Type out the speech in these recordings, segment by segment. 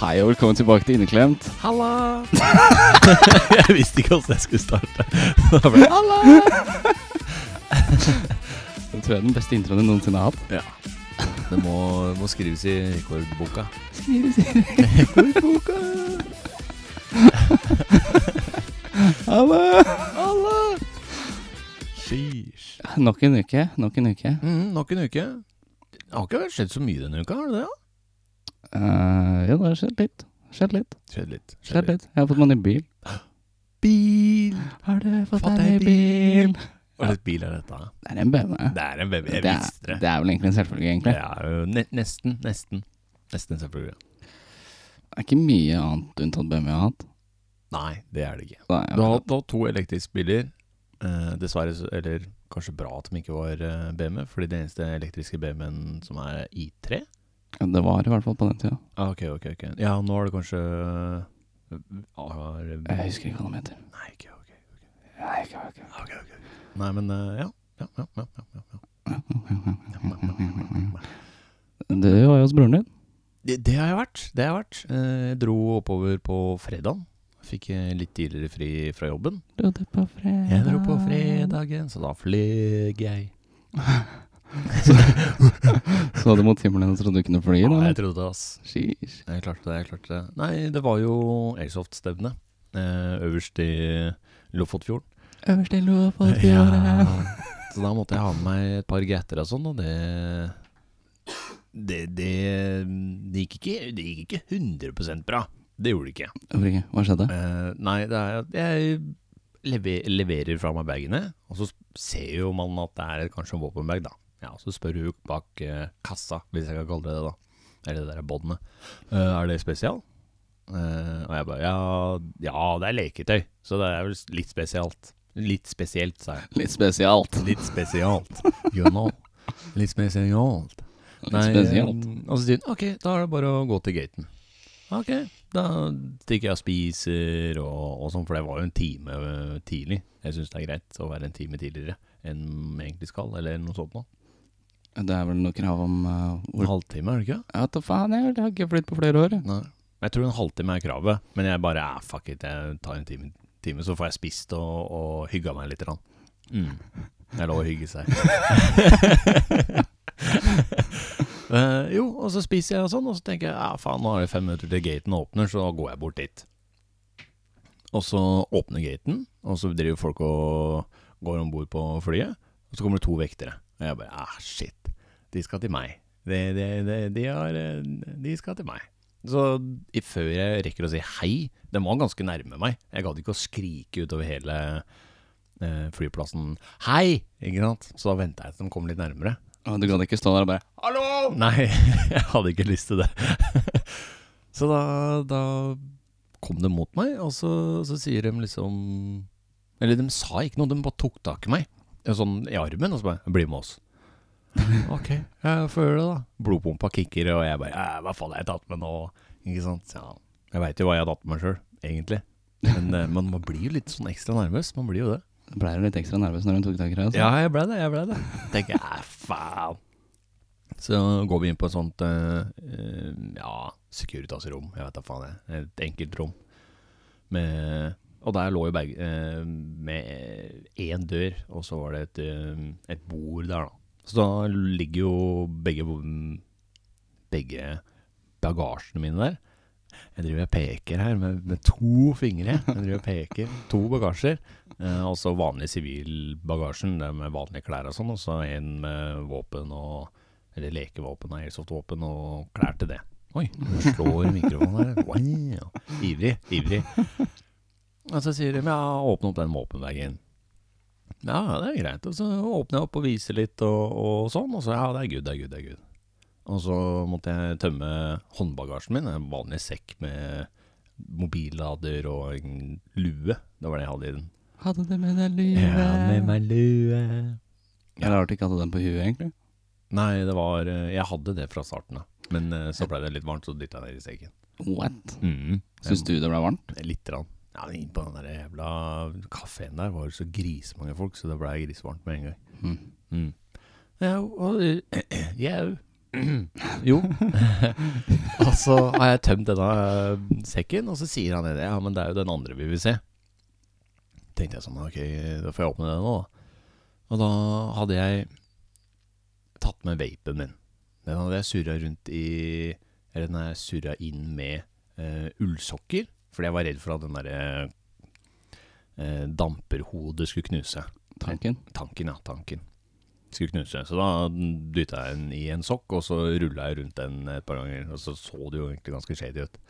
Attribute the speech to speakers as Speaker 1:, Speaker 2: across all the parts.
Speaker 1: Hei og velkommen tilbake til Inneklemt.
Speaker 2: Halla!
Speaker 3: Jeg visste ikke hvordan jeg skulle starte. Da ble det
Speaker 1: Det tror jeg er den beste introen jeg noensinne har hatt.
Speaker 2: Det må, må skrives i rekordboka.
Speaker 1: Hallo!
Speaker 3: Sheesh.
Speaker 1: Nok en uke, nok en uke.
Speaker 2: Mm, nok en uke. Det har ikke skjedd så mye denne uka, har det det? da?
Speaker 1: Eh, ja, det har skjedd litt. Skjedd litt.
Speaker 2: Skjedd litt.
Speaker 1: Skjedd litt. Jeg har fått meg ny bil.
Speaker 2: Bil!
Speaker 1: Har du fått
Speaker 2: Fått
Speaker 1: deg ny
Speaker 2: deg
Speaker 1: bil?
Speaker 2: Hva slags bil er dette?
Speaker 1: Det er en BMW.
Speaker 2: Det er en baby. Jeg
Speaker 1: Det er-
Speaker 2: visste det.
Speaker 1: Det er vel egentlig en selvfølge, egentlig.
Speaker 2: Det er jo ne nesten, nesten. Nesten selvfølgelig.
Speaker 1: Det er ikke mye annet unntatt BMW jeg har hatt.
Speaker 2: Nei, det er det ikke.
Speaker 1: Nei, jeg
Speaker 2: Du har
Speaker 1: vet
Speaker 2: hatt nå to elektriske biler. Eh, dessverre, så- eller kanskje bra at de ikke var eh, BMW, fordi den eneste elektriske BMW-en som er i3
Speaker 1: ikke. Det var i hvert fall på den tida.
Speaker 2: Ah, ok, ok, ok. Ja, nå er det kanskje eh, har,
Speaker 1: Jeg husker ikke hva den heter.
Speaker 2: Nei, ok, ok.
Speaker 1: Nei, ikke, ikke.
Speaker 2: ok, ok. Nei, men eh, ja. Ja, ja, ja, ja, ja, ja. Mm,
Speaker 1: Du var jo hos broren din.
Speaker 2: Det, det har jeg vært. Det har jeg vært. Eh, Jeg dro oppover på fredagen. Fikk eh, litt tidligere fri fra jobben.
Speaker 1: Dro du på fredag?
Speaker 2: Jeg dro på fredagen, så da fløy jeg.
Speaker 1: Så du mot himmelen og trodde du kunne fly?
Speaker 2: Ja,
Speaker 1: da?
Speaker 2: Ah, jeg trodde det, ass.
Speaker 1: Sheesh.
Speaker 2: Jeg klarte det, jeg klarte det. Nei, det var jo Airsoft-stevne. Eh, øverst i Lofotfjorden.
Speaker 1: Øverste Lofotfjorden.
Speaker 2: Så da måtte jeg ha med meg et par gatter og sånn, og det det, det, det, gikk ikke, det gikk ikke 100 bra. Det gjorde det ikke.
Speaker 1: Hvorfor ikke? Hva skjedde?
Speaker 2: Eh, nei, det er at jeg lever, leverer fra meg bagene, og så ser jo man at det er kanskje en våpenbag, da. Ja, og så spør hun bak eh, kassa, hvis jeg kan kalle det det, da. Eller det der båndet. Eh, er det spesial? Eh, og jeg bare ja, ja, det er leketøy, så det er vel litt spesielt. Litt spesielt, sa jeg.
Speaker 1: Litt spesialt.
Speaker 2: Litt spesielt, you know. Litt spesielt.
Speaker 1: Litt
Speaker 2: Nei,
Speaker 1: spesialt.
Speaker 2: eh, Og så sier hun ok, da er det bare å gå til gaten. Ok, da stikker jeg og spiser og, og sånn, for det var jo en time eh, tidlig. Jeg syns det er greit å være en time tidligere enn vi egentlig skal, eller noe sånt noe.
Speaker 1: Det er vel noe krav om eh,
Speaker 2: En
Speaker 1: hvor
Speaker 2: halvtime, er det ikke?
Speaker 1: Ja, ta faen, jeg har ikke flydd på flere år. jeg.
Speaker 2: Nei. Jeg tror en halvtime er kravet, men jeg bare eh, fuck it, jeg tar en time, time så får jeg spist og, og hygga meg litt. Rann. Mm. Det er lov å hygge seg. Eh, jo, og så spiser jeg og sånn, og så tenker jeg ja, faen, nå er det fem minutter til gaten åpner, så da går jeg bort dit. Og så åpner gaten, og så driver folk og går om bord på flyet, og så kommer det to vektere. Og jeg bare ah, shit, de skal til meg. De, de, de, de, har, eh, de skal til meg. Så i- før jeg rekker å si hei, den var ganske nærme meg. Jeg gadd ikke å skrike utover hele eh, flyplassen 'hei', ikke sant? Så da venta jeg til de kom litt nærmere.
Speaker 1: Og Du gadd ikke stå der og bare
Speaker 2: Hallo! Nei, jeg hadde ikke lyst til det. så da, da kom de mot meg, og så, så sier de liksom Eller de sa ikke noe, de bare tok tak i meg og sånn i armen og så bare 'Bli med oss'. ok, jeg føler det, da. Blodpumpa kicker, og jeg bare «Eh, 'Hva faen har jeg tatt med nå?' Ikke sant? Ja, jeg veit jo hva jeg har tatt med meg sjøl, egentlig. Men eh, man, man blir jo litt sånn ekstra nervøs. Man blir jo det.
Speaker 1: Jeg Ble jo litt ekstra nervøs når hun tok tak i deg. altså.
Speaker 2: Ja, jeg ble det, jeg ble det. Tenker jeg, "Ah, faen. Så går vi inn på et sånt, eh, eh, ja, Securitas-rom, jeg vet da faen jeg, et enkelt rom. Med, og der lå jo bag, eh, med én dør, og så var det et, eh, et bord der da. Så da ligger jo begge, begge bagasjene mine der. Jeg driver og peker her med, med to fingre. Jeg driver og peker, to bagasjer. Eh, og så vanlig sivilbagasjen, det med vanlige klær og sånn, og så en med våpen og Eller lekevåpen og airsoft-våpen og klær til det. Oi, du slår i mikrofonen her. Wow. Ivrig, ivrig. Og så sier de ja, åpne opp den våpenbagen. Ja, ja, det er greit. Og så åpner jeg opp og viser litt og, og sånn, og så ja, det er good, det er good, det er good. Og så måtte jeg tømme håndbagasjen min, en vanlig sekk med mobillader og en lue. Det var det jeg hadde i den.
Speaker 1: Hadde det med deg lue.
Speaker 2: Ja, med meg lue.
Speaker 1: Jeg rart du ikke hadde den på huet, egentlig.
Speaker 2: Nei, det var eh, Jeg hadde det fra starten av. Men eh, så ble det litt varmt, så dytta jeg ned i steken.
Speaker 1: What?
Speaker 2: Mm.
Speaker 1: Syns du det ble varmt?
Speaker 2: Litt. Rann. Ja, men Inn på den der jævla kafeen der var det så grisemange folk, så det ble grisevarmt med en gang.
Speaker 1: Mm.
Speaker 2: Mm. Ja, og, jau. jo. og så har jeg tømt denne eh, sekken, og så sier han det. Ja, men det er jo den andre vi vil se. Tenkte jeg sånn, ok, da får jeg åpne den nå, da. Og da hadde jeg tatt med vapen min. Den hadde jeg surra rundt i Eller den har jeg surra inn med eh, ullsokker, fordi jeg var redd for at den derre eh, damperhodet skulle knuse
Speaker 1: Tanken?
Speaker 2: tanken, ja, tanken. Skulle knuse. Så da dytta jeg den i en sokk, og så rulla jeg rundt den et par ganger. Og så så det jo egentlig ganske shady ut.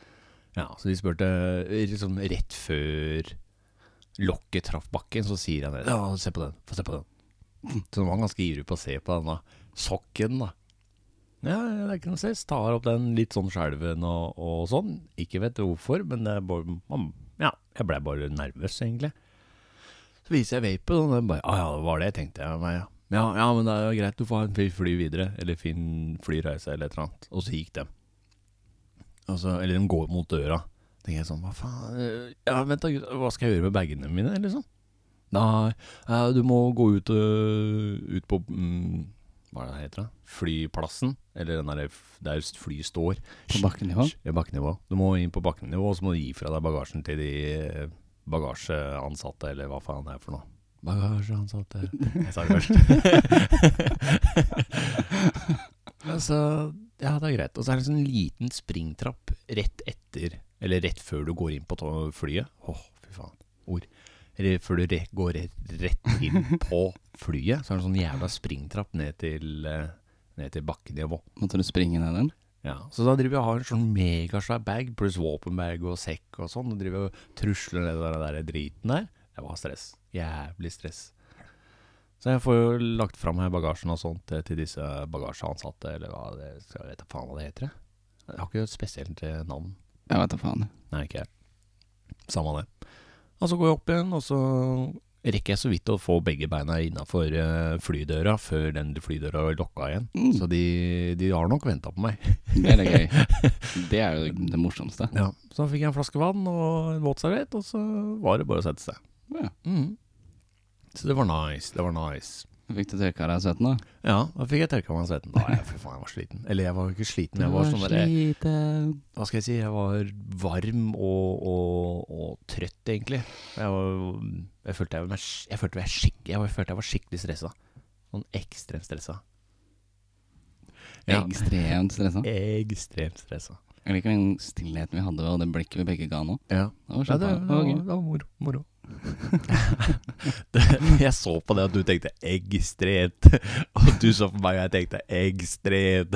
Speaker 2: Ja, så de spurte liksom rett før lokket traff bakken, så sier han det. Ja, se på den, få se på den. Så de var ganske ivrig på å se på denne sokken, da. Ja, ja, det er ikke noe stress. Tar opp den litt sånn skjelven og, og sånn. Ikke vet hvorfor, men det er bare, man, ja, jeg ble bare nervøs, egentlig. Så viser jeg vapen, og den bare ah, ja, det var det, tenkte jeg meg, ja. Ja, ja, men det er jo greit, du får ha en fri fly videre, eller fin flyreise, eller et eller annet. Og så gikk de. Og så, eller de går mot døra. tenker jeg sånn, hva faen eh, Ja, vent da, gutt, hva skal jeg gjøre med bagene mine, liksom? Nei, eh, du må gå ut, øh, ut på mm, Hva er det det heter, da? Flyplassen? Eller den der, f- der fly står.
Speaker 1: På bakkenivå?
Speaker 2: Hysj, ja, bakkenivå. Du må inn på bakkenivå, og så må du gi fra deg bagasjen til de eh, bagasjeansatte, eller hva faen det er for noe. Bagasjeansatte Jeg sa det først. altså, ja, det er greit. Og så er det en sånn liten springtrapp rett etter, eller rett før du går inn på to- flyet. Åh, fy faen. Ord. Eller før du re går re rett inn på flyet, så er det en sånn jævla springtrapp ned til, eh, ned til bakkenivå.
Speaker 1: Måtte du springe ned den?
Speaker 2: Ja, Så da driver jeg og har en sånn megasvær bag pluss våpenbag og sekk og sånn, og driver og trusler ned den der driten der. Det var stress. Jævlig stress. Så jeg får jo lagt fram her bagasjen og sånt eh, til- til disse bagasjeansatte, eller hva det skal jeg vet da faen hva det heter. jeg. Jeg har ikke et spesielt eh, navn.
Speaker 1: Jeg vet da faen.
Speaker 2: Nei, ikke jeg. Samme det. Og så går jeg opp igjen, og så rekker jeg så vidt å få begge beina innafor eh, flydøra før den flydøra lokka igjen.
Speaker 1: Mm.
Speaker 2: Så de, de har nok venta på meg.
Speaker 1: Det er det gøy. Det er jo det morsomste.
Speaker 2: Ja, så da fikk jeg en flaske vann og en våtserviett, og så var det bare å sette seg.
Speaker 1: Ja.
Speaker 2: Mm. Så det var nice, det var nice.
Speaker 1: Fikk du tørka deg søten, da?
Speaker 2: Ja, da fikk jeg tørka meg i svetten. Nei, fy faen, jeg var sliten. Eller jeg var ikke sliten, jeg var sånn der,
Speaker 1: sliten.
Speaker 2: hva skal jeg si, jeg var varm og, og, og trøtt, egentlig. Jeg, var, jeg følte jeg var, sk- jeg følte jeg, skikk, jeg, var, jeg følte jeg var skikkelig stressa. Sånn ekstremt stressa. Ja.
Speaker 1: Ekstremt stressa.
Speaker 2: Ekstremt stressa.
Speaker 1: Jeg liker den stillheten vi hadde, og det blikket vi begge ga nå.
Speaker 2: Ja.
Speaker 1: Det var
Speaker 2: Ja, det,
Speaker 1: kjempe-
Speaker 2: det,
Speaker 1: det
Speaker 2: var,
Speaker 1: var gøy.
Speaker 2: det var moro. moro. det, jeg så på det at du tenkte 'ekstremt', og du så på meg og jeg tenkte 'ekstremt'.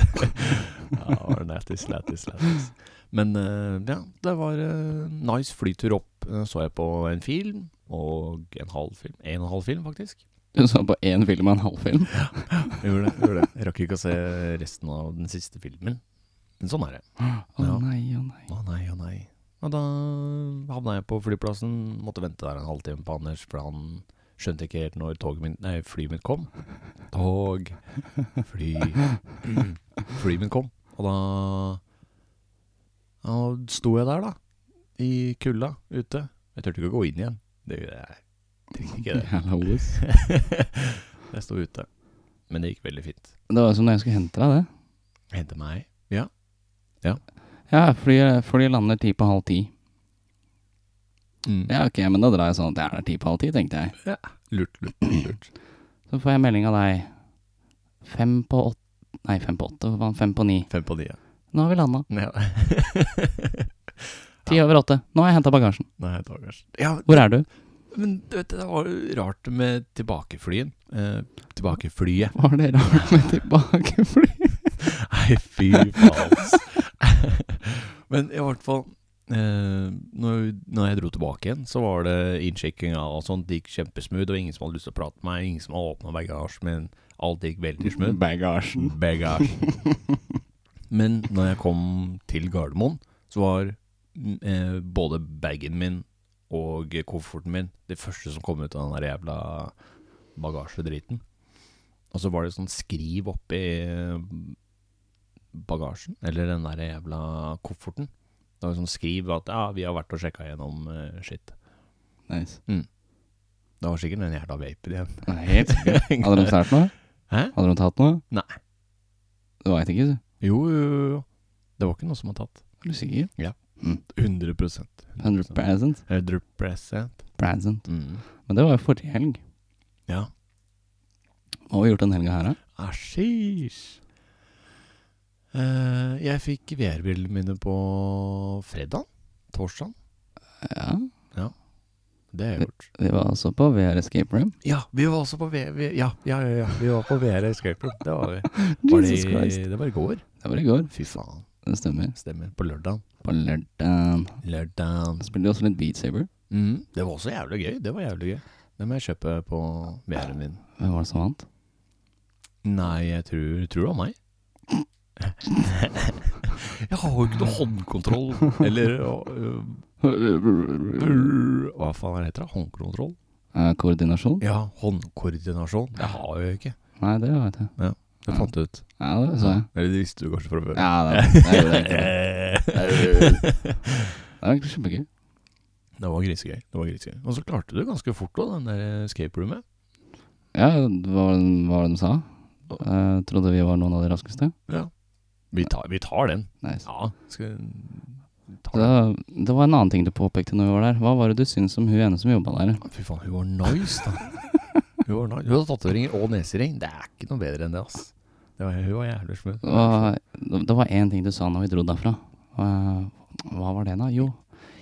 Speaker 2: ja, det var lættis, lættis, lættis. Men eh, ja, det var eh, nice flytur opp. Eh, Så jeg på en film, og en halv film. En og en halv film, faktisk.
Speaker 1: Du så på én film og en halvfilm.
Speaker 2: Jeg gjorde det. Jeg, gjorde det. jeg rakk ikke å se resten av den siste filmen. Men sånn er det.
Speaker 1: Å
Speaker 2: Ja.
Speaker 1: nei, å nei.
Speaker 2: Å nei, å nei. Og da havna jeg på flyplassen. Måtte vente der en halvtime på Anders, for han skjønte ikke helt når toget mitt, nei, flyet mitt kom. Tog, fly Flyet mitt kom. Og da ja, sto jeg der, da. I kulda ute. Jeg turte ikke å gå inn igjen. Det gjorde jeg. Tenkte ikke det.
Speaker 1: Jævla os.
Speaker 2: Jeg sto ute. Men det gikk veldig fint.
Speaker 1: Det var som da jeg skulle hente deg, det.
Speaker 2: Hente meg.
Speaker 1: Ja, flyet flyet lander ti på halv ti.
Speaker 2: Mm.
Speaker 1: Ja, ok, men da drar jeg sånn at jeg er der ti på halv ti, tenkte jeg.
Speaker 2: Lurt, lurt, lurt.
Speaker 1: Så får jeg melding av deg fem på åtte Nei, fem på åtte, hva faen? Fem på ni.
Speaker 2: Fem på ni, ja.
Speaker 1: Nå har vi landa.
Speaker 2: ja.
Speaker 1: Ti over åtte. Nå har jeg henta bagasjen.
Speaker 2: Nei, dagers. Ja,
Speaker 1: Hvor er du?
Speaker 2: men du vet, det var jo rart med tilbakeflyen. Eh, tilbakeflyet.
Speaker 1: Hva har dere hørt med tilbakefly?
Speaker 2: Nei, fy faen. ass. men i hvert fall eh, når, når jeg dro tilbake igjen, så var det innsjekkinga og sånt. Det gikk kjempesmooth, og ingen som hadde lyst til å prate med meg. Ingen som hadde åpna bagasjen min. Alt gikk veldig smooth.
Speaker 1: Bagasjen.
Speaker 2: Bagasjen. Men når jeg kom til Gardermoen, så var mm, eh, både bagen min og kofferten min det første som kom ut av den der jævla bagasjedriten. Og så var det sånn skriv oppi eh, bagasjen, eller den der jævla kofferten. Da liksom skriv at ja, vi har vært og sjekka gjennom eh, shit.
Speaker 1: Nice.
Speaker 2: Det var sikkert den jævla vapen igjen.
Speaker 1: Nei, Helt sikkert. Hadde de stjålet noe?
Speaker 2: Hæ?
Speaker 1: Hadde de tatt noe?
Speaker 2: Nei.
Speaker 1: Du veit ikke, du.
Speaker 2: Jo, jo, jo, jo. Det var ikke noe som var tatt.
Speaker 1: Er du sikker?
Speaker 2: 100
Speaker 1: 100 present.
Speaker 2: 100
Speaker 1: Present.
Speaker 2: mm.
Speaker 1: Men det var jo forrige helg.
Speaker 2: Ja.
Speaker 1: Hva har vi gjort den helga her, da?
Speaker 2: Asjis. Eh, jeg fikk VR-brillene mine på fredag. Torsdag.
Speaker 1: Ja,
Speaker 2: Det har jeg gjort.
Speaker 1: vi var også på VR Escape Room.
Speaker 2: Mm. Ja, vi var også på VR... vi- Ja, ja, ja, ja. Vi var på VR Escape Room. Det var vi. Var
Speaker 1: Jesus Christ.
Speaker 2: det, det var i går.
Speaker 1: Det var i går.
Speaker 2: Fy faen.
Speaker 1: Det stemmer.
Speaker 2: Stemmer. På lørdag.
Speaker 1: På lørdag
Speaker 2: Lørdag.
Speaker 1: spilte vi også litt Beat Saber.
Speaker 2: Mm. Det var også jævlig gøy. Det var jævlig gøy. Det må jeg kjøpe på VR-en min.
Speaker 1: Hvem var det som vant?
Speaker 2: Nei, jeg tror, tror det var meg. jeg har jo ikke noe håndkontroll. Eller øh, øh, Hva faen er det heter? det? Håndkontroll?
Speaker 1: Eh, koordinasjon?
Speaker 2: Ja, håndkoordinasjon. Det har jeg jo ikke.
Speaker 1: Nei, det veit jeg.
Speaker 2: Det fant du ut.
Speaker 1: Ja, det sa jeg.
Speaker 2: Eller det visste du kanskje fra før.
Speaker 1: Ja, det, det gjorde jeg ikke. Det var egentlig kjempegøy.
Speaker 2: Det var grisegøy. Det var grisegøy. Og så klarte du ganske fort òg, den der eh, escape roomet.
Speaker 1: Ja, hva var det, hva var det de sa? Eh, trodde vi var noen av de raskeste.
Speaker 2: Ja. Vi tar, vi tar den.
Speaker 1: Nice.
Speaker 2: Ja, skal ta
Speaker 1: Det,
Speaker 2: den.
Speaker 1: det var en annen ting du påpekte når vi var der. Hva var det du syntes om hun ene som jobba der?
Speaker 2: Fy faen, hun var nice, da. Hun var nice. Hun hadde tatoveringer og nesering. Det er ikke noe bedre enn det, ass. Det var, hun var jævlig smooth.
Speaker 1: Det var- det var én ting du sa når vi dro derfra. Eh, hva var det, da? Jo,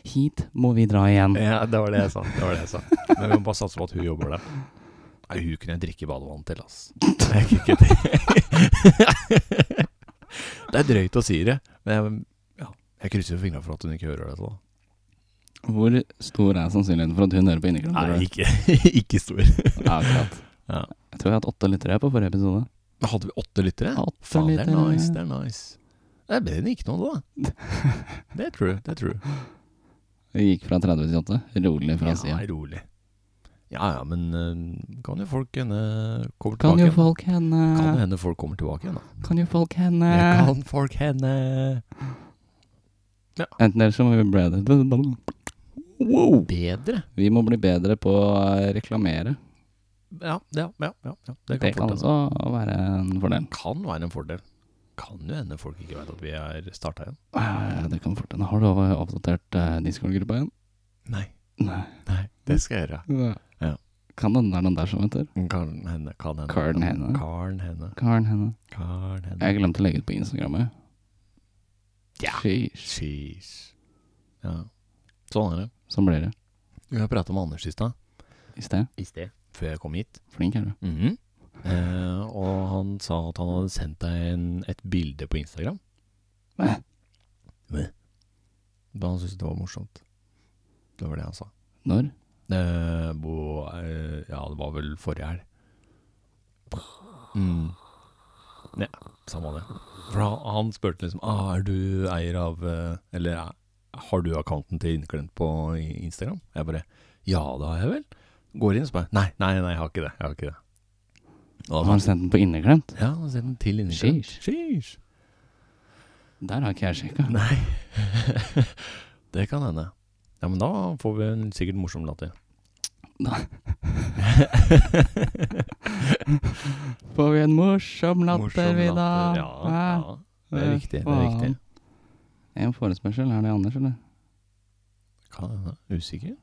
Speaker 1: hit må vi dra igjen.
Speaker 2: Ja, det var det jeg sa. Det var det jeg sa. Men vi må bare satse på at hun jobber der. Nei, hun kunne jeg drikke badevann til, ass. Det er, ikke det. det er drøyt å si det, men jeg, ja, jeg krysser jo fingra for at hun ikke hører dette. da.
Speaker 1: Hvor stor er sannsynligheten for at hun hører på Inneklemt?
Speaker 2: Nei, ikke, ikke stor.
Speaker 1: Ja, akkurat.
Speaker 2: Ja.
Speaker 1: Jeg tror jeg har hatt åtte lyttere på forrige episode.
Speaker 2: Da hadde vi åtte lyttere.
Speaker 1: Åtte
Speaker 2: Faen, det er
Speaker 1: lyttere.
Speaker 2: nice, det er nice. Det er bedre enn ikke noe, da. Det er true, det er true.
Speaker 1: Vi gikk fra 30 til 8. Rolig fra
Speaker 2: Ja,
Speaker 1: sida.
Speaker 2: rolig. Ja ja, men eh, kan jo folk hende kommer
Speaker 1: Kan
Speaker 2: tilbake
Speaker 1: jo
Speaker 2: igjen.
Speaker 1: folk henne
Speaker 2: Kan det hende folk kommer tilbake igjen, da.
Speaker 1: Kan jo folk henne
Speaker 2: Det kan folk hende.
Speaker 1: Enten eller så må vi bli bedre
Speaker 2: Oh.
Speaker 1: Wow.
Speaker 2: Bedre?
Speaker 1: Vi må bli bedre på å reklamere.
Speaker 2: Ja, ja, ja. ja, ja.
Speaker 1: Det kan,
Speaker 2: fort hende.
Speaker 1: også være en fordel.
Speaker 2: kan være en fordel. Kan jo hende folk ikke veit at vi er starta igjen.
Speaker 1: Eh, Det kan fort hende. Har du oppdatert eh, Discord-gruppa igjen?
Speaker 2: Nei.
Speaker 1: Nei.
Speaker 2: Nei, det skal jeg gjøre. Ja.
Speaker 1: Kan hende det er noen der som heter
Speaker 2: Kan hende, kan hende.
Speaker 1: Karen henne.
Speaker 2: Karen henne.
Speaker 1: Karen henne.
Speaker 2: Karen henne.
Speaker 1: Jeg glemte å legge ut på Instagram. jeg.
Speaker 2: Ja.
Speaker 1: Sheesh.
Speaker 2: Sheesh. Ja. Sånn er det.
Speaker 1: Sånn blir det.
Speaker 2: Jeg prata med Anders i stad.
Speaker 1: I sted.
Speaker 2: I sted. Før jeg kom hit.
Speaker 1: Flink er du.
Speaker 2: eh, og han sa at han hadde sendt deg en, et bilde på Instagram.
Speaker 1: Mæ.
Speaker 2: Mæ. Da han syntes det var morsomt. Det var det han sa.
Speaker 1: Når?
Speaker 2: Eh, bo, eh, ja, det var vel forrige helg. Mm. Ja, samme det. For han, han spurte liksom ah, Er du eier av eh, Eller eh, har du accounten til Inneklemt på i- Instagram? Jeg bare Ja, det har jeg vel. Går inn og spør. Nei, nei, nei, jeg har ikke det. Jeg har ikke det. Og
Speaker 1: Har han sendt den på inneklemt?
Speaker 2: ja, han sendte den til Inneklemt.
Speaker 1: Sheesh.
Speaker 2: Sheesh.
Speaker 1: Der har ikke jeg sjekka.
Speaker 2: Nei. det kan hende. Ja, men da får vi en sikkert morsom latter.
Speaker 1: Får vi en morsom eh,
Speaker 2: Morsom
Speaker 1: latter vi da?
Speaker 2: Ja, ja. Det er viktig. Det er viktig.
Speaker 1: En forespørsel, er det Anders, eller?
Speaker 2: Kan hende. Usikker?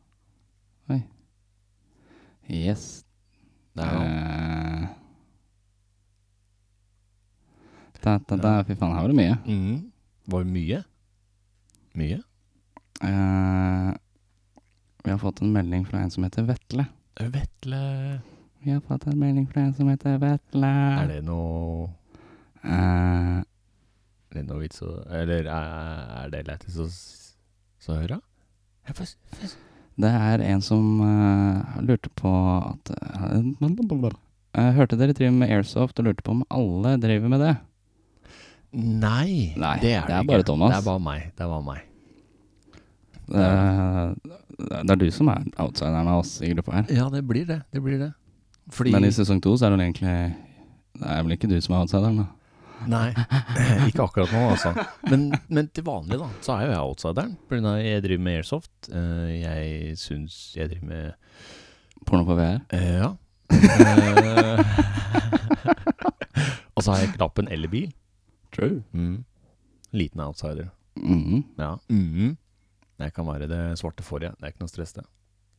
Speaker 1: Yes.
Speaker 2: Det er jo
Speaker 1: Eh. Da, da, da, fy faen, her var det mye.
Speaker 2: mm. Var det mye? Mye?
Speaker 1: Eh, vi har fått en melding fra en som heter Vetle.
Speaker 2: Vetle
Speaker 1: Vi har fått en melding fra en som heter Vetle.
Speaker 2: Er det noe
Speaker 1: Eh,
Speaker 2: Er det noe vits å Eller er, er det lættis å s- så høre? Jeg får s- får s-
Speaker 1: Det er en som eh, lurte på at Eh, Hørte dere driver med airsoft og lurte på om alle driver med det?
Speaker 2: Nei,
Speaker 1: Nei,
Speaker 2: det er det,
Speaker 1: det er
Speaker 2: ikke.
Speaker 1: bare Thomas.
Speaker 2: Det er bare meg. Det er bare meg.
Speaker 1: Eh, det er du som er outsideren av oss i gruppa her.
Speaker 2: Ja, det blir det. Det blir det. Fordi
Speaker 1: Men i sesong to så er det vel egentlig Det er vel ikke du som er outsideren, da?
Speaker 2: Nei, ikke akkurat nå, altså. Men, men til vanlig, da, så er jo jeg outsideren. Pga. jeg driver med airsoft. Eh, Jeg syns jeg driver med
Speaker 1: Porno på VR.
Speaker 2: eh, Ja. Eh, Og så har jeg knappen eller bil.
Speaker 1: True.
Speaker 2: Mm. Liten outsider.
Speaker 1: Mm.
Speaker 2: Ja. Mhm. Jeg kan være det svarte forrige. Det er ikke noe stress, det.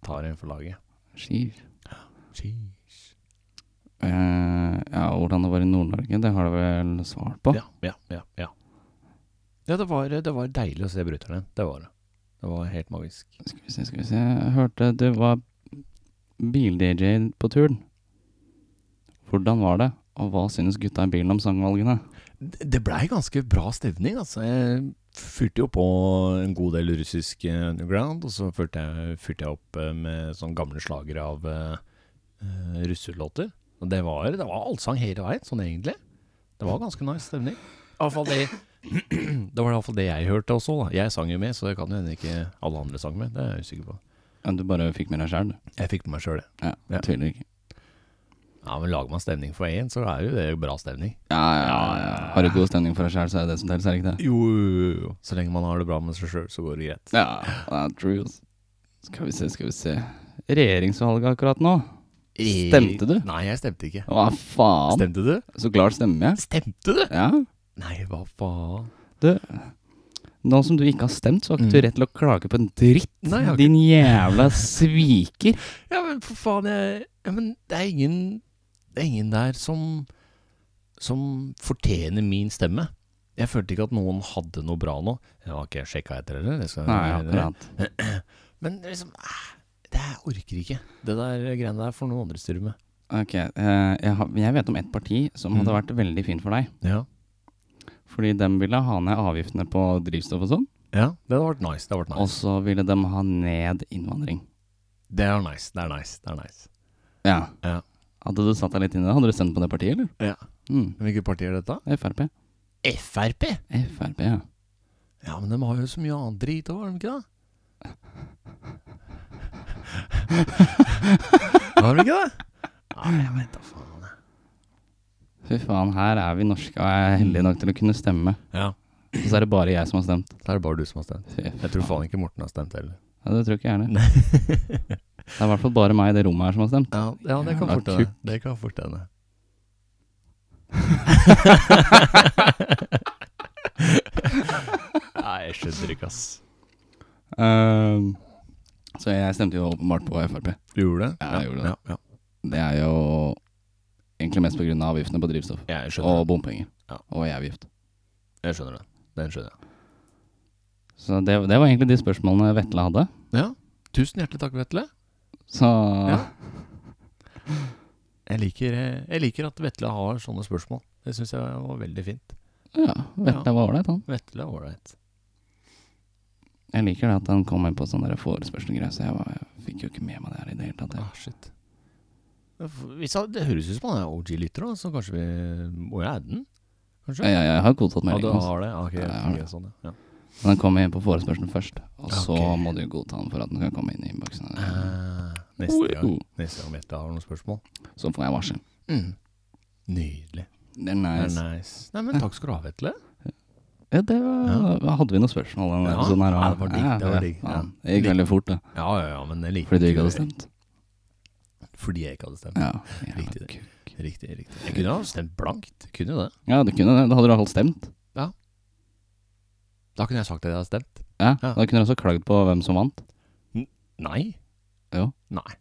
Speaker 2: Tar en for laget.
Speaker 1: Skiv. Eh, ja, hvordan det var i Nord-Norge, det har du vel svart på?
Speaker 2: Ja, ja, ja. Ja, ja det, var, det var deilig å se bruteren. Det var det. Det var helt magisk.
Speaker 1: Skal vi se, skal vi se. Jeg hørte det var bil-DJ på turen. Hvordan var det, og hva synes gutta i bilen om sangvalgene?
Speaker 2: Det det blei ganske bra stevning, altså. Jeg fyrte jo på en god del russisk eh, underground, og så fyrte jeg, fyrte jeg opp eh, med sånne gamle slagere av eh, eh, russelåter. Og det var, det var allsang hele veien, sånn egentlig. Det var ganske nice stemning. I hvert fall det, det var iallfall det jeg hørte også, da. Jeg sang jo med, så det kan jo hende ikke alle andre sang med. Det er jeg usikker på.
Speaker 1: Ja, du bare fikk med deg sjæl, du.
Speaker 2: Jeg fikk på meg sjøl, det.
Speaker 1: Ja,
Speaker 2: Ja.
Speaker 1: Tviler ikke.
Speaker 2: Ja, men lager man stemning for én, så er jo det bra stemning.
Speaker 1: Ja, ja, ja. Har du god stemning for deg sjæl, så er det det som teller, er det ikke det?
Speaker 2: Jo, jo, jo. Så lenge man har det bra med seg sjøl, så går det greit.
Speaker 1: Ja, ja true. ass. Skal vi se, skal vi se. Regjeringsvalget akkurat nå. Stemte du?
Speaker 2: Nei, jeg stemte ikke.
Speaker 1: Hva faen?
Speaker 2: Stemte du?
Speaker 1: Så klart stemmer jeg.
Speaker 2: Stemte du?
Speaker 1: Ja.
Speaker 2: Nei, hva faen?
Speaker 1: Nå som du ikke har stemt, så har ikke du
Speaker 2: Mm.
Speaker 1: rett til å klage på en dritt.
Speaker 2: Nei, jeg har
Speaker 1: Din jævla sviker.
Speaker 2: Ja, men for faen, jeg ja, Men det er ingen Det er ingen der som Som fortjener min stemme. Jeg følte ikke at noen hadde noe bra nå. Jeg har ikke sjekka etter heller. det skal-
Speaker 1: Nei, akkurat.
Speaker 2: Men liksom eh, Det her orker ikke. Det der greiene der får noen andre styre med.
Speaker 1: Ok, eh, jeg, har, jeg vet om ett parti som hadde
Speaker 2: Mm.
Speaker 1: vært veldig fint for deg.
Speaker 2: Ja.
Speaker 1: Fordi de ville ha ned avgiftene på drivstoff og sånn.
Speaker 2: ja det hadde vært nice. Det hadde vært nice.
Speaker 1: Og så ville de ha ned innvandring.
Speaker 2: Det er nice. Det er nice. Det er nice.
Speaker 1: Ja.
Speaker 2: Ja.
Speaker 1: Hadde du satt deg litt inn i det? Hadde du stemt på det partiet, eller?
Speaker 2: Ja.
Speaker 1: Mm.
Speaker 2: Hvilket parti er dette?
Speaker 1: Frp.
Speaker 2: Frp?
Speaker 1: Frp, ja.
Speaker 2: Ja, men de har jo så mye annet drit òg, har de ikke det? har de ikke det? Nei, jeg vet da faen. jeg.
Speaker 1: Fy faen, her er vi norske og jeg er heldig nok til å kunne stemme.
Speaker 2: Ja,
Speaker 1: Og så er det bare jeg som har stemt.
Speaker 2: så er det bare du som har stemt.
Speaker 1: Fy
Speaker 2: Jeg tror faen ikke Morten har stemt heller.
Speaker 1: Ja, det tror ikke jeg er det.
Speaker 2: Nei.
Speaker 1: Det er i hvert fall bare meg i det rommet her som har stemt.
Speaker 2: Ja, ja det kan
Speaker 1: Jævla
Speaker 2: fort hende. Det kan fort hende. Nei, jeg skjønner ikke, ass.
Speaker 1: Ehm, så jeg stemte jo åpenbart på Frp.
Speaker 2: Du gjorde det?
Speaker 1: Ja, jeg gjorde det.
Speaker 2: Ja, ja.
Speaker 1: Det er jo egentlig mest pga. avgiftene på drivstoff.
Speaker 2: Jeg skjønner
Speaker 1: Og bompenger.
Speaker 2: Ja.
Speaker 1: Og veiavgift.
Speaker 2: det. Jeg skjønner det. Den skjønner jeg.
Speaker 1: Så det, det var egentlig de spørsmålene Vetle hadde.
Speaker 2: Ja. Tusen hjertelig takk, Vetle.
Speaker 1: Så
Speaker 2: Ja. Jeg liker, jeg liker at Vetle har sånne spørsmål. Det syns jeg var veldig fint.
Speaker 1: ja, Vetle var ålreit, han.
Speaker 2: Vetle er ålreit.
Speaker 1: Jeg liker det at han kom inn på sånne der forespørselgreier, så jeg, var, jeg fikk jo ikke med meg det her i det hele tatt. jeg.
Speaker 2: Ah, shit. Hvis han- det høres ut som han er OG-lytter, da, så kanskje vi må jo adde den? Kanskje?
Speaker 1: Jeg, jeg, jeg har godtatt
Speaker 2: ja, du
Speaker 1: meldingen. hans.
Speaker 2: har det? Ja, ok,
Speaker 1: Ja, jeg har det.
Speaker 2: ok, sånn, ja.
Speaker 1: Men han kom inn på forespørselen først, og så
Speaker 2: Ok.
Speaker 1: må du godta han for at han kan komme inn i innboksen.
Speaker 2: Eh, neste, gang, neste gang Vetle har noen spørsmål.
Speaker 1: Så får jeg varsel.
Speaker 2: Nydelig.
Speaker 1: Det er
Speaker 2: Det er
Speaker 1: nice.
Speaker 2: Mm. nice. Nei, men takk skal du ha, Vetle.
Speaker 1: Ja, det var, Hadde vi noen spørsmål? om
Speaker 2: Ja.
Speaker 1: episoden her,
Speaker 2: Ja,
Speaker 1: og-
Speaker 2: det var digg, det var digg,
Speaker 1: faen.
Speaker 2: ja.
Speaker 1: Det gikk veldig fort, da.
Speaker 2: Ja, ja, ja, men jeg liker
Speaker 1: Fordi du ikke hadde stemt.
Speaker 2: Fordi jeg ikke hadde stemt.
Speaker 1: Ja,
Speaker 2: Riktig
Speaker 1: jævla
Speaker 2: det.
Speaker 1: kuk.
Speaker 2: Riktig, riktig. Jeg kunne ha stemt blankt. Kunne jo det.
Speaker 1: Ja, du kunne det. Da hadde du i hvert fall stemt.
Speaker 2: Da kunne jeg sagt at jeg hadde stemt.
Speaker 1: Ja,
Speaker 2: Ja.
Speaker 1: Da kunne du også klagd på hvem som vant.
Speaker 2: Nei.
Speaker 1: Jo.
Speaker 2: Nei.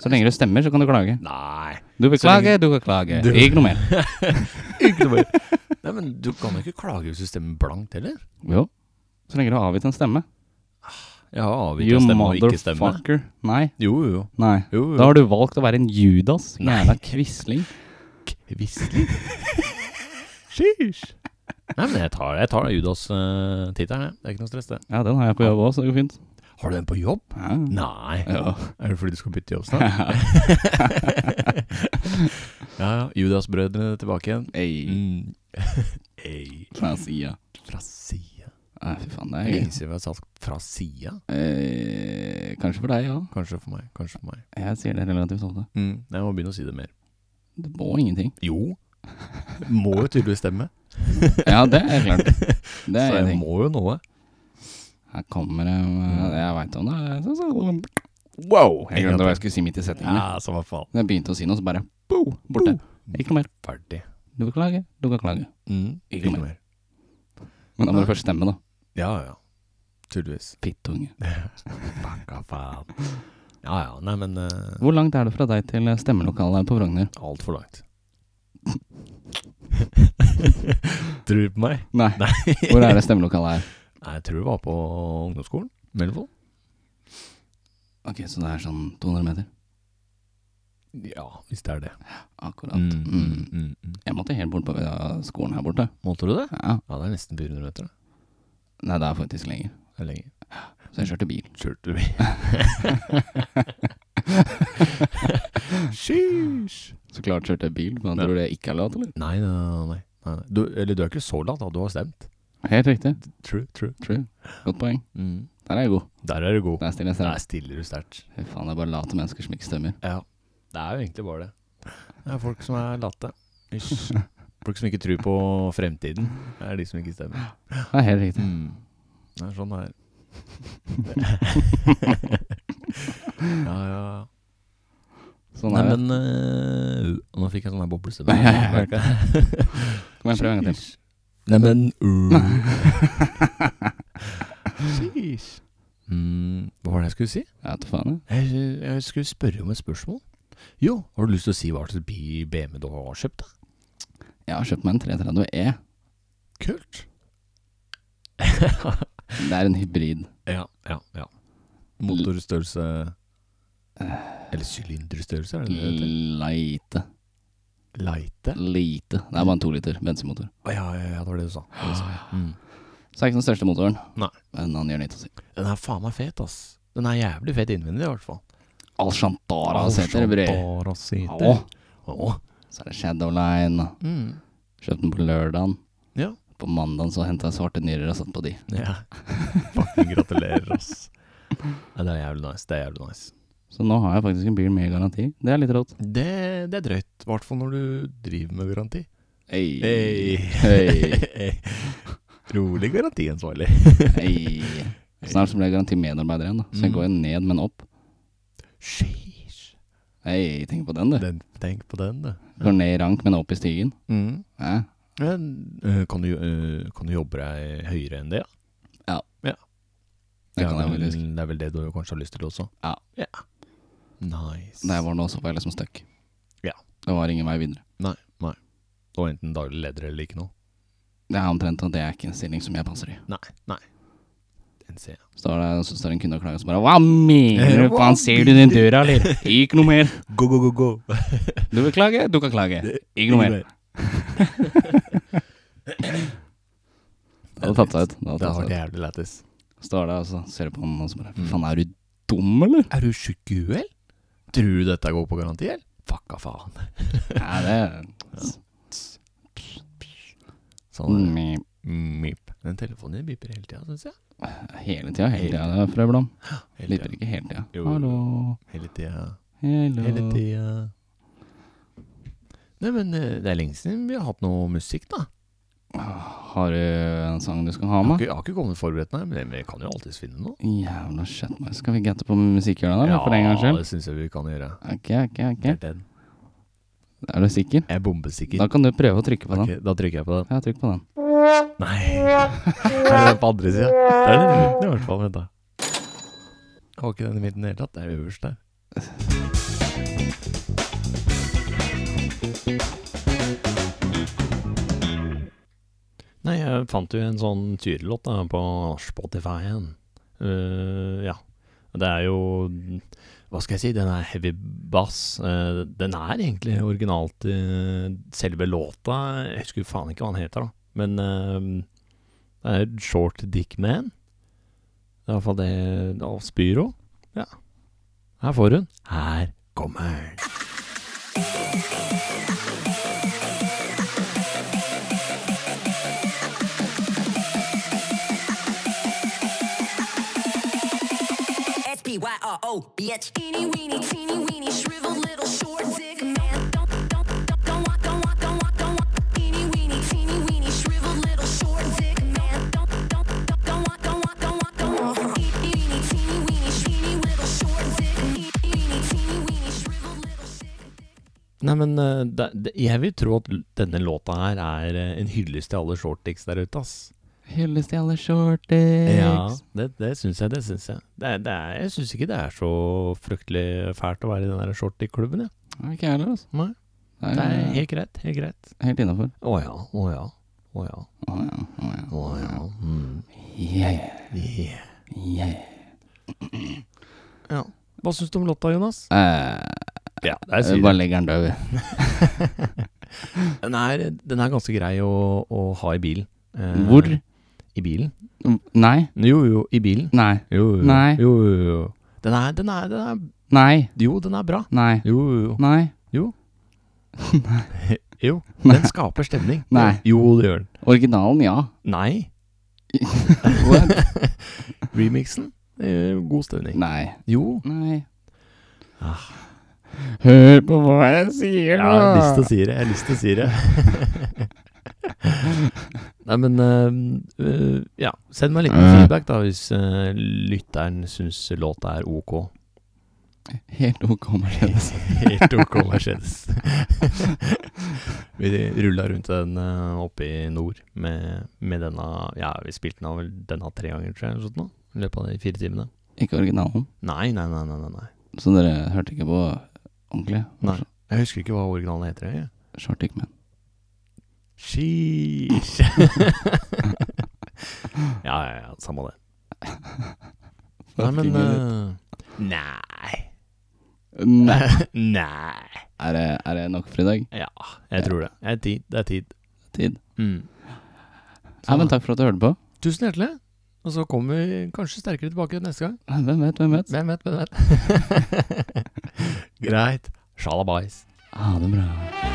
Speaker 1: Så lenge du stemmer, så kan du klage.
Speaker 2: Nei.
Speaker 1: Du vil
Speaker 2: Så lenge-
Speaker 1: klage, du kan klage.
Speaker 2: Du-
Speaker 1: Ikke noe mer.
Speaker 2: Ikke noe mer. Nei, men du kan jo ikke klage hvis du stemmer blankt heller.
Speaker 1: Jo. Så lenge du har avgitt en stemme.
Speaker 2: Jeg har avgitt å stemme og ikke stemme.
Speaker 1: motherfucker. Nei.
Speaker 2: Jo, jo,
Speaker 1: Nei.
Speaker 2: jo.
Speaker 1: Da har du valgt å være en Judas.
Speaker 2: Nei.
Speaker 1: Jævla quisling.
Speaker 2: Kvisselig. Sheesh. Nei, men jeg tar, jeg tar Judas-tittelen, jeg. Det er ikke noe stress, det.
Speaker 1: Ja, den har jeg på jobb òg, så det går fint.
Speaker 2: Har du den på jobb?
Speaker 1: Ja.
Speaker 2: Nei.
Speaker 1: Ja.
Speaker 2: Er det fordi du skal bytte jobb snart? ja, ja. Judas-brødrene tilbake igjen.
Speaker 1: Ei,
Speaker 2: Mm. Ei.
Speaker 1: fra sida.
Speaker 2: Fra sida.
Speaker 1: Nei, fy faen, det er gøy.
Speaker 2: Lenge siden vi har sagt 'fra sida'.
Speaker 1: Eh, kanskje for deg, ja.
Speaker 2: Kanskje for meg. Kanskje for meg.
Speaker 1: Jeg sier det relativt ofte.
Speaker 2: Mm. Jeg må begynne å si det mer.
Speaker 1: Du må ingenting.
Speaker 2: Jo, Må jo tydeligvis stemme.
Speaker 1: Ja, det er klart. Det
Speaker 2: Så
Speaker 1: er en
Speaker 2: jeg
Speaker 1: ting.
Speaker 2: må jo noe.
Speaker 1: Her kommer det eh, Jeg veit om det. er- så- så-
Speaker 2: Wow!
Speaker 1: Jeg glemte hva jeg skulle si midt i setningen.
Speaker 2: Ja, samme faen.
Speaker 1: Jeg begynte å si noe, så bare bo, borte. Ikke noe mer.
Speaker 2: Ferdig.
Speaker 1: Du kan klage, du kan klage.
Speaker 2: Mm,
Speaker 1: Ikke mer. Men da må du først stemme, da.
Speaker 2: Ja, ja. Tydeligvis.
Speaker 1: Pittunge.
Speaker 2: Fucka faen. Ja, ja. Nei, men uh,
Speaker 1: Hvor langt er det fra deg til stemmelokalet på Frogner?
Speaker 2: altfor langt. Tror du på meg?
Speaker 1: Nei.
Speaker 2: Nei.
Speaker 1: Hvor er det stemmelokalet er?
Speaker 2: Nei, jeg tror det var på ungdomsskolen. Melvold?
Speaker 1: Ok, så det er sånn 200 meter?
Speaker 2: Ja, hvis det er det.
Speaker 1: Akkurat.
Speaker 2: Mm,
Speaker 1: Mm.
Speaker 2: mm, mm.
Speaker 1: Jeg måtte helt bort på ja, skolen her borte.
Speaker 2: Målte du det?
Speaker 1: Ja.
Speaker 2: Ja, det er nesten 400 meter. da.
Speaker 1: Nei, det er faktisk lenger.
Speaker 2: Det er lenge.
Speaker 1: Så jeg kjørte bil.
Speaker 2: Kjørte vi? Sheesh!
Speaker 1: Så klart kjørte jeg bil, men tror du det ikke er lov, eller?
Speaker 2: Nei, nei, nei. nei. nei. Du, eller du er ikke så lat, da. Du har stemt.
Speaker 1: Helt riktig.
Speaker 2: True, true.
Speaker 1: True. Godt poeng.
Speaker 2: Mm.
Speaker 1: Der er jeg god.
Speaker 2: Der er du god.
Speaker 1: Der stiller jeg selv.
Speaker 2: Der stiller du sterkt.
Speaker 1: Fy faen, det er bare late mennesker som ikke stemmer.
Speaker 2: Ja. Det er jo egentlig bare det. Det er folk som er late. Ish. Folk som ikke tror på fremtiden. Det er de som ikke stemmer.
Speaker 1: Det er helt
Speaker 2: Mm.
Speaker 1: riktig.
Speaker 2: Det er sånn det er. ja, ja.
Speaker 1: Sånn
Speaker 2: Nei,
Speaker 1: er det.
Speaker 2: men øh, Nå fikk jeg sånn her boblestemme.
Speaker 1: Nei, jeg hørte Kom igjen, prøv en gang til.
Speaker 2: Sheesh. Nei, men øh. Sheesh. Mm, hva var det jeg skulle si?
Speaker 1: Jeg vet da faen, jeg.
Speaker 2: Jeg, jeg skulle spørre om et spørsmål. Jo, har du lyst til å si hva slags bi- BMW du har kjøpt? da?
Speaker 1: Jeg har kjøpt meg en 330 E.
Speaker 2: Kult.
Speaker 1: Det er en hybrid.
Speaker 2: ja, ja, ja. Motorstørrelse Eller sylinderstørrelse, er det det det heter?
Speaker 1: Lite.
Speaker 2: Leite?
Speaker 1: Lite. Det er bare en to liter bensinmotor.
Speaker 2: Å, ja, ja, ja, det var det du sa. Det du sa. Mm.
Speaker 1: Så det er ikke den største motoren,
Speaker 2: Nei.
Speaker 1: men han gjør litt å si.
Speaker 2: Den er faen meg fet, ass. Den er jævlig fet innvendig, i hvert fall.
Speaker 1: Alcantara seter, bre.
Speaker 2: Bara
Speaker 1: Å,
Speaker 2: seter. Å.
Speaker 1: så er det Shadowline. og
Speaker 2: Mm.
Speaker 1: Kjøpte den på lørdagen.
Speaker 2: Ja.
Speaker 1: På mandagen så henta jeg svarte nyrer og satt på de.
Speaker 2: ja. Fucking gratulerer, ass. Ja, det er jævlig nice. Det er jævlig nice.
Speaker 1: Så nå har jeg faktisk en bil med garanti. Det er litt rått.
Speaker 2: Det, det er drøyt. I hvert fall når du driver med garanti.
Speaker 1: Hey.
Speaker 2: Hey.
Speaker 1: Hey.
Speaker 2: Rolig garantiansvarlig.
Speaker 1: Hey. Snart så blir jeg garantimedarbeider igjen, da. Så jeg
Speaker 2: Mm.
Speaker 1: går jo ned, men opp.
Speaker 2: Sheesh.
Speaker 1: Hei, tenk på den, du.
Speaker 2: Den, tenk på den, du.
Speaker 1: Går ned i rank, men opp i stigen.
Speaker 2: Mm.
Speaker 1: Ja.
Speaker 2: Men, øh, kan, du, øh, kan du jobbe deg høyere enn det?
Speaker 1: Ja.
Speaker 2: ja.
Speaker 1: Det kan jeg
Speaker 2: vel,
Speaker 1: faktisk.
Speaker 2: det er vel det du kanskje har lyst til også?
Speaker 1: Ja.
Speaker 2: Nice.
Speaker 1: Da jeg var nå, så var jeg liksom stuck.
Speaker 2: Ja.
Speaker 1: Det var ingen vei videre.
Speaker 2: Det var enten daglig leder eller ikke noe.
Speaker 1: Det er omtrent at det er ikke en stilling som jeg passer i.
Speaker 2: Nei. Nei. Den ser jeg.
Speaker 1: Så står det så står det en kunde og klager, så bare Hva mener du? Faen, ser du den døra, eller? Ikke noe mer.
Speaker 2: Go, go, go, go.
Speaker 1: Du vil klage, du kan klage. Ikke noe mer. Det hadde tatt seg ut. Det hadde tatt
Speaker 2: Det har
Speaker 1: seg ut.
Speaker 2: vært jævlig lættis.
Speaker 1: Står der og så ser du på den og så bare
Speaker 2: Mm.
Speaker 1: Faen, er du dum, eller?
Speaker 2: Er du sjuk i huet? eller? Tror du dette går på garanti, eller? Fucka faen.
Speaker 1: Nei, det
Speaker 2: Sånn er det.
Speaker 1: Mm,
Speaker 2: Mip. Den telefonen din biper hele tida, syns jeg.
Speaker 1: Hele tida, hele tida, frø Blom.
Speaker 2: Hele
Speaker 1: Lytter
Speaker 2: tida.
Speaker 1: ikke hele tida.
Speaker 2: Jo, jo, jo.
Speaker 1: Hallo,
Speaker 2: Hele tida. Hele
Speaker 1: hello.
Speaker 2: tida. Nei, men eh, det er lenge siden vi har hatt noe musikk, da.
Speaker 1: Ah, Har du en sang du skal ha
Speaker 2: Jeg har
Speaker 1: med?
Speaker 2: ikke, jeg har ikke kommet forberedt, nei, men vi kan jo alltids finne noe.
Speaker 1: Jævla shit, man. Skal vi gette på musikkhjørnet, da? For en gangs skyld?
Speaker 2: det syns jeg vi kan gjøre.
Speaker 1: Ok, ok, ok.
Speaker 2: Det er den.
Speaker 1: Er du sikker?
Speaker 2: Jeg er bombesikker.
Speaker 1: Da kan du prøve å trykke på den.
Speaker 2: Ok, da trykker jeg på den.
Speaker 1: Ja, trykk på den.
Speaker 2: Nei Er det den på andre sida? Det er den i midten i hvert fall. Vent, da. Jeg har ikke den i midten i det hele tatt. Det er øverst der.
Speaker 3: Nei, jeg fant jo en sånn tyrelåt da, på Spotify-en. Eh, ja. Det er jo Hva skal jeg si? Den er heavy bass. Eh, den er egentlig originalt eh, selve låta. Jeg husker faen ikke hva den heter, da. Men
Speaker 2: ehm,
Speaker 3: eh, det er Short Dick Man. Det er iallfall det Av Spyro. Ja. Her får hun. Her kommer den.
Speaker 4: S P Y R O B H. Teeny weeny, teeny weeny, shriveled little short dick man. Don't, don't, don't, don't want, don't want, don't want, don't want.
Speaker 2: Nei, men eh, det, det, jeg vil tro at l- denne låta her er eh, en hyllest til alle shortdicks der ute, ass.
Speaker 1: Hylles til alle shortdicks.
Speaker 2: det, det syns jeg. Det syns jeg. Det, er- det er, jeg syns ikke det er så fryktelig fælt å være i den der shortdick-klubben, jeg.
Speaker 1: Det er ikke jeg heller, altså.
Speaker 2: Nei,
Speaker 1: Det
Speaker 2: det
Speaker 1: er
Speaker 2: er
Speaker 1: helt,
Speaker 2: helt greit. Helt greit.
Speaker 1: helt innafor.
Speaker 2: Å ja, å ja, å ja.
Speaker 1: Å ja, å ja.
Speaker 2: Å ja. Mm.
Speaker 1: Yeah,
Speaker 2: Yeah.
Speaker 1: yeah.
Speaker 2: ja. Hva syns du om låta, Jonas?
Speaker 1: Eh,
Speaker 2: Ja, det
Speaker 1: vi bare legger den død. vi.
Speaker 2: Den er, den er ganske grei å, å ha i bilen. Eh,
Speaker 1: Hvor?
Speaker 2: I bilen?
Speaker 1: Mm, Nei.
Speaker 2: Jo, jo, i bilen.
Speaker 1: Nei.
Speaker 2: Jo, jo,
Speaker 1: Nei.
Speaker 2: jo, jo, jo. Den er, den er, den er
Speaker 1: Nei.
Speaker 2: Jo, den er bra.
Speaker 1: Nei.
Speaker 2: Jo, jo,
Speaker 1: Nei.
Speaker 2: jo. Den skaper stemning.
Speaker 1: Nei.
Speaker 2: Jo, det gjør den.
Speaker 1: Originalen, ja.
Speaker 2: Nei.
Speaker 1: What?
Speaker 2: Remixen? eh, God stemning.
Speaker 1: Nei.
Speaker 2: Jo.
Speaker 1: Nei.
Speaker 2: Ah.
Speaker 1: Hør på hva jeg sier,
Speaker 2: Jeg
Speaker 1: da!
Speaker 2: har lyst til å si det. Jeg har lyst til å si det. Nei, men eh, eh, Ja, send meg en liten feedback, da, hvis eh, lytteren syns låta er ok.
Speaker 1: Helt ok, Mercedes.
Speaker 2: Helt ok Mercedes. vi rulla rundt den eh, oppe i nord med, med denne Ja, vi spilte den av vel denne tre ganger, tror jeg, eller sånt nå, i løpet av de fire timene.
Speaker 1: Ikke originalen.
Speaker 2: Nei, nei, nei, nei. nei, nei.
Speaker 1: Så dere hørte ikke på ordentlig?
Speaker 2: Nei. Jeg husker ikke hva originalen heter. Jeg.
Speaker 1: Shortic Man.
Speaker 2: Sheesh. ja, ja, ja, samme det. Nei, men eh, Nei.
Speaker 1: Nei.
Speaker 2: nei.
Speaker 1: Er, det, er det nok for i dag?
Speaker 2: Ja, jeg tror det. Det er tid. Det er tid.
Speaker 1: Tid.
Speaker 2: Mm.
Speaker 1: Nei, men takk for at du hørte på.
Speaker 2: Tusen hjertelig. Og så kommer vi kanskje sterkere tilbake neste gang.
Speaker 1: Nei, Hvem vet, hvem vet?
Speaker 2: Hvem vet, hvem vet. Greit. Sjalabais.
Speaker 1: Ha det bra.